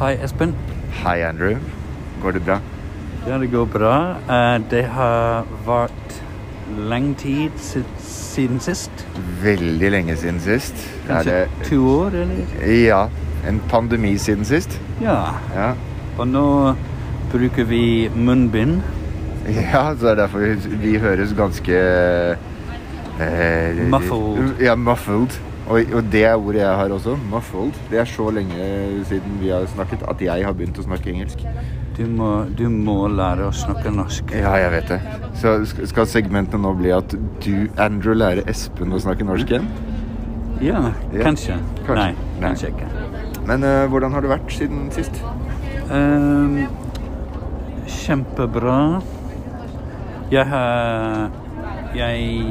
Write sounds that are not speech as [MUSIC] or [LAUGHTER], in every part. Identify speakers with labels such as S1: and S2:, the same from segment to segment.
S1: Hei, Espen.
S2: Hei, Andrew. Går det bra?
S1: Ja, det går bra. Eh, Det har vært lang tid si- siden sist.
S2: Veldig lenge siden sist. Er
S1: Kanskje
S2: det
S1: to år, eller?
S2: Ja. En pandemi siden sist.
S1: Ja.
S2: Ja.
S1: Og nå bruker vi munnbind.
S2: ja, så det er derfor vi, vi høres ganske eh,
S1: Muffled.
S2: Ja, muffled. Og, og det er ordet jeg har også. Muffled. Det er så lenge siden vi har snakket at jeg har begynt å snakke engelsk.
S1: Du må, du må lære å snakke norsk.
S2: Ja, jeg vet det. Så sk- skal segmentene nå bli at du, Andrew, lærer Espen å snakke norsk igjen?
S1: Ja,
S2: Ja.
S1: kanskje.
S2: Kanskje.
S1: Nei,
S2: Nei.
S1: kanskje ikke.
S2: Men eh, hvordan har det vært siden sist?
S1: Ehm, kjempebra. Jeg har Jeg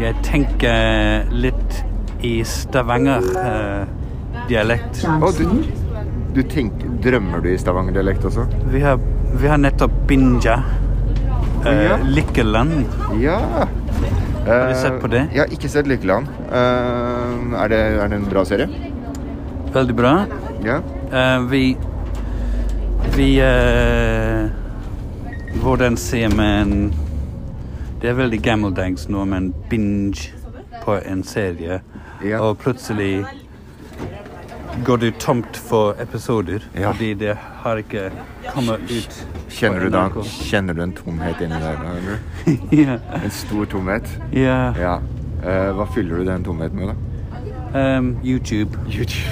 S1: Jeg tenker litt i eh, Stavanger-dialekt.
S2: Å, du, du tenker, drømmer du i Stavanger-dialekt også?
S1: vi, har, vi har nettopp Binja. eh,
S2: Ja.
S1: Lykkeland.
S2: Ja!
S1: du
S2: Eh,
S1: sett på det?
S2: Jeg har ikke sett Lykkeland. Eh, er, det, er det en bra serie?
S1: Veldig bra.
S2: Ja.
S1: Eh, vi Vi eh, Hvordan sier man Det er veldig gammeldags når man binge på en serie,
S2: Ja.
S1: og plutselig går du tomt for episoder
S2: Ja.
S1: fordi det har ikke kommet ut. [LAUGHS]
S2: Kjenner
S1: på
S2: du, da,
S1: NRK.
S2: kjenner du en tomhet inni deg? da, eller?
S1: ja.
S2: En stor tomhet?
S1: ja.
S2: Ja. Eh, hva fyller du den tomheten
S1: [LAUGHS]
S2: med, da?
S1: Ehm, YouTube.
S2: YouTube.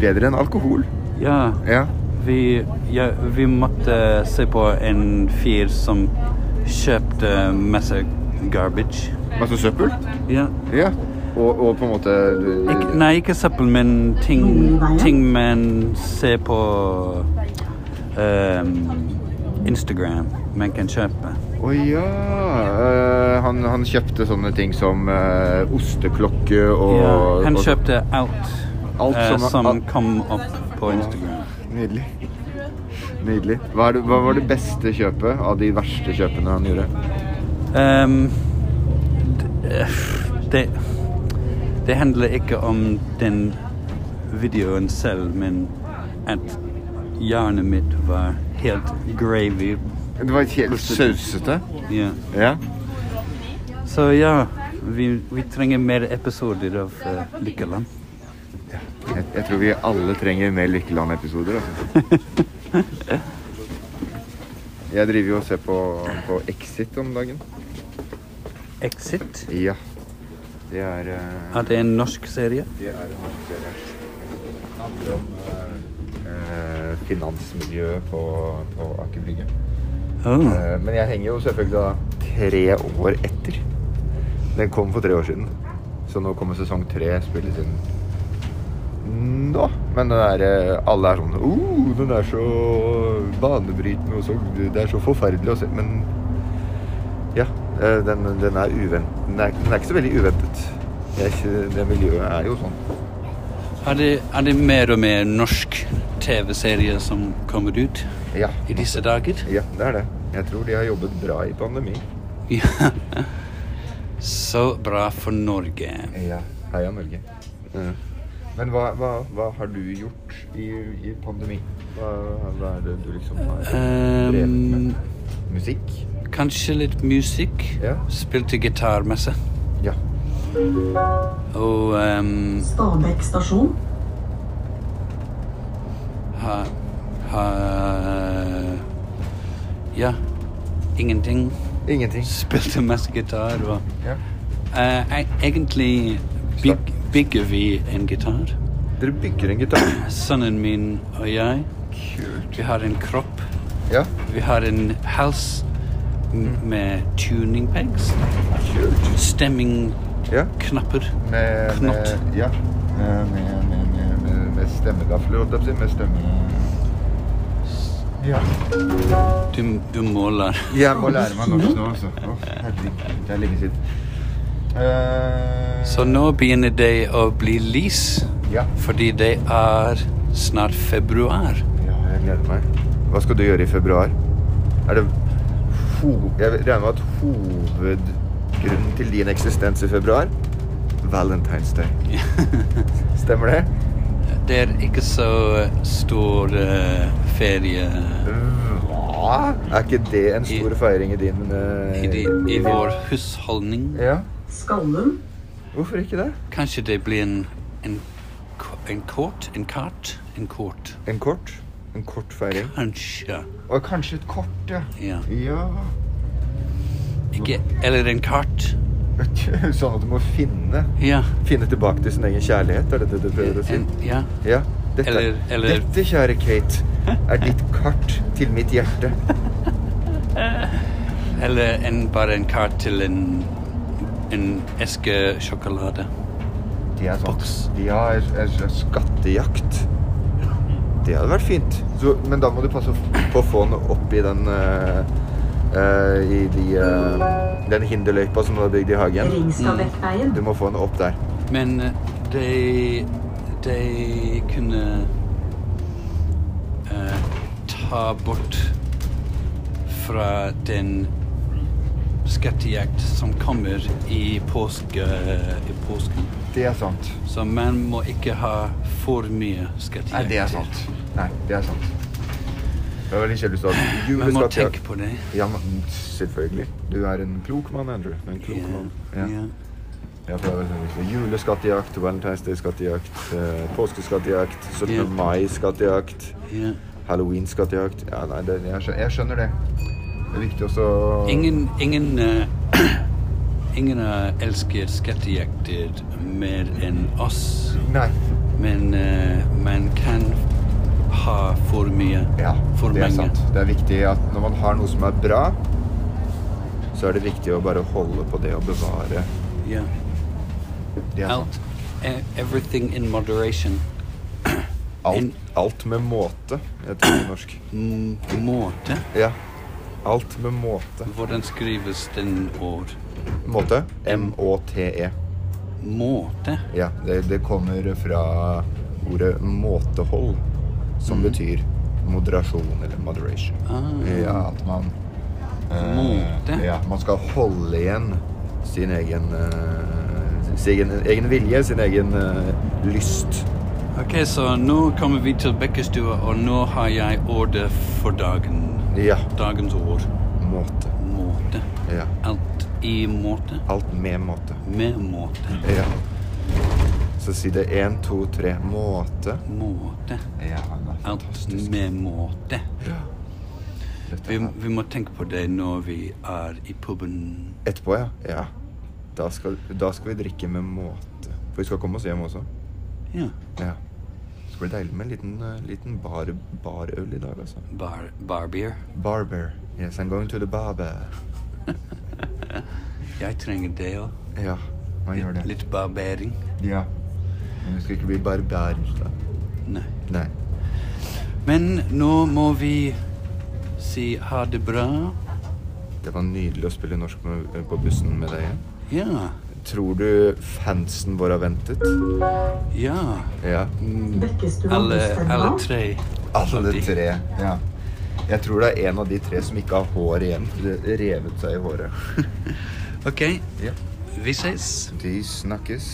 S2: Bedre enn alkohol.
S1: Ja.
S2: Ja.
S1: Vi, ja, vi måtte se på en fyr som kjøpte masse garbage.
S2: Masse søppel?
S1: Ja.
S2: Ja. Og, og på en måte eh, du-
S1: Ik nei, ikke søppel, men ting, ting man ser på ehm, Instagram man kan kjøpe.
S2: Å ja! eh, han, han kjøpte sånne ting som eh, osteklokke og
S1: Ja, han
S2: og-
S1: kjøpte alt,
S2: Alt
S1: eh,
S2: som-
S1: som
S2: alt-
S1: kom opp på Instagram.
S2: Nydelig. Nydelig. Hva, er det, hva var det beste kjøpet av de verste kjøpene han gjorde?
S1: Ehm, d- eh, det, det handler ikke om den videoen selv, men at hjernen mitt var helt gravy.
S2: Det var helt sausete.
S1: Ja.
S2: Ja.
S1: Så ja, vi, vi trenger mer episoder av eh, Lykkeland.
S2: Jeg, jeg tror vi alle trenger mer Lykkeland-episoder. Altså.
S1: [LAUGHS]
S2: Jeg driver jo og ser på, på Exit om dagen.
S1: Exit.
S2: Ja. Det er eh,
S1: Er det en norsk serie?
S2: Det er en norsk serie. Det handler om eh, eh, finansmiljøet på, på Aker Brygge.
S1: Oh.
S2: Eh, men jeg henger jo selvfølgelig da tre år etter. Den kom for tre år siden. Så nå kommer sesong tre spilles inn nå. Men den er, eh, alle er sånn oh, den er så banebrytende og så Det er så forferdelig å se. Men ja, eh, den, den er uventet. Den er, den er ikke så veldig uventet. Det, er ikke, det miljøet er jo sånn.
S1: Er, det, er det mer og mer norsk TV-serie som kommer ut
S2: Ja.
S1: i disse dager?
S2: Ja, det er det. Jeg tror de har jobbet bra i pandemi.
S1: Ja. [LAUGHS] Så bra for Norge.
S2: Ja. Heia Norge. Men hva, hva, hva har du gjort i, i pandemi? Hva, hva er det du liksom har drevet
S1: Ehm,
S2: med? Musikk?
S1: kanskje litt musikk.
S2: Ja.
S1: Spilte gitar masse.
S2: Ja.
S1: Og ehm,
S3: Stabekk stasjon.
S1: ha, ha Ja. Ingenting.
S2: Ingenting.
S1: Spilte masse gitar og
S2: Ja.
S1: Eh, e- Egentlig byg, bygger vi en gitar.
S2: Dere bygger en gitar.
S1: Sønnen min og jeg.
S2: Kult.
S1: Vi har en kropp.
S2: Ja,
S1: Vi har en hals m- med tuning pegs.
S2: kult.
S1: Stemmingknapper.
S2: Ja. Med,
S1: Knott.
S2: med, ja. med, med, med, med, med, med stemmegafler, holdt jeg på å si. Med stemme... Ja.
S1: Du, du måler.
S2: Jeg må lære meg norsk nå, altså. Å, herregud, det er lenge siden. Eh,
S1: Så nå begynner de å bli lys,
S2: Ja.
S1: fordi det er snart februar.
S2: ja, jeg gleder meg. Hva skal du gjøre i februar? Er det ho Jeg regner med at hovedgrunnen til din [LAUGHS] eksistens i februar Valentine's Day. Stemmer det?
S1: det er ikke så stor eh, ferie
S2: Hva? Er ikke det en stor
S1: I-
S2: feiring i din eh,
S1: i, de, i vår husholdning.
S2: Ja.
S3: Skallum,
S2: Hvorfor ikke det?
S1: Kanskje det blir en, en, k- en kort? En kart? En kort.
S2: En kort? En kort feiring?
S1: Kanskje.
S2: Og kanskje et kort, ja.
S1: Ja.
S2: Ja [LAUGHS]
S1: Ikke, eller en kart.
S2: Sånn at du må finne
S1: Ja.
S2: Finne tilbake til sin egen kjærlighet, er det det du prøver å si?
S1: En, ja.
S2: Ja. Dette,
S1: Eller- eller-
S2: dette, kjære Kate, er ditt kart til mitt hjerte.
S1: Eller en, bare en kart til en, en eske sjokolade.
S2: De er sånn
S1: Boks.
S2: De har en- en slags skattejakt. Det hadde vært fint. Så, men da må du passe på å få den opp i den eh, eh, I de, eh, den hinderløypa som du har bygd i hagen.
S3: Ringstadvettveien,
S2: Du må få den opp der.
S1: Men eh, de, de kunne eh, ta bort fra den skattejakt som kommer i, påske, eh, i påsken.
S2: Det er sant.
S1: Så man må ikke ha for mye skattejakt.
S2: Nei, det er sant. Nei, det er sant. Det var litt kjedelig start.
S1: Man må tenke på det.
S2: Ja, men selvfølgelig. Du er en klok mann, Andrew. Du er En klok mann.
S1: Ja.
S2: Ja. Ja, for det er veldig viktig. Juleskattejakt, Valentine's Day-skattejakt, eh, påskeskattejakt, 17.
S1: Ja.
S2: mai-skattejakt,
S1: Ja. Ja.
S2: halloween-skattejakt. Ja, nei, det, jeg, skjønner, jeg skjønner det. Det er viktig også
S1: Ingen, ingen, eh, [CLEARS THROAT] ingen har elsket skattejakter mer enn oss.
S2: Nei.
S1: Men eh, man kan ha for mye.
S2: Ja,
S1: for
S2: det er
S1: mange.
S2: sant. Det er viktig at når man har noe som er bra, så er det viktig å bare holde på det og bevare.
S1: Ja.
S2: Det er sant.
S1: Alt. E- Everything in moderation.
S2: Alt, alt med måte, heter det på norsk.
S1: M måte.
S2: Ja. Alt med måte.
S1: Hvordan skrives den ord?
S2: Måte? M-Å-T-E.
S1: Måte?
S2: Ja, det, det kommer fra ordet måtehold, som betyr moderasjon eller moderation.
S1: Ah.
S2: Ja, at man eh,
S1: Måte.
S2: Ja, man skal holde igjen sin egen eh, sin egen, egen vilje, sin egen eh, lyst.
S1: Ok, så nå kommer vi til Bekkestua, og nå har jeg ordet for dagen.
S2: Ja.
S1: Dagens ord.
S2: Måte.
S1: Måte.
S2: Ja.
S1: Alt i måte.
S2: Alt med måte.
S1: Med måte.
S2: Ja. Så si det én, to, tre. Måte.
S1: Måte.
S2: Ja, den er
S1: Alt
S2: fantastisk.
S1: med måte.
S2: Ja. Dette
S1: Vi,
S2: her.
S1: vi må tenke på det når vi er i puben.
S2: Etterpå, ja. ja. Da, skal, da skal vi drikke med måte. For vi skal komme oss hjem også.
S1: Ja.
S2: Ja. Det skal bli deilig med en liten, eh, liten bar, barøl i dag, altså.
S1: Bar, barbier.
S2: Barber. Yes, I'm going to the barber.
S1: Jeg trenger det òg.
S2: Ja, man gjør det.
S1: Litt barbering.
S2: Ja. Men vi skal ikke bli barbarer, da.
S1: Nei.
S2: Nei.
S1: Men nå må vi si ha det bra.
S2: Det var nydelig å spille norsk med, eh, på bussen med deg.
S1: Ja.
S2: Tror du fansen vår har ventet?
S1: Ja.
S2: Ja.
S3: Bekkestua
S1: Alle, alle
S3: bussterminal,
S1: tre.
S2: Alle tre. Ja. Jeg tror det er en av de tre som ikke har hår igjen. Det revet seg i håret.
S1: OK,
S2: Ja.
S1: vi ses.
S2: De snakkes.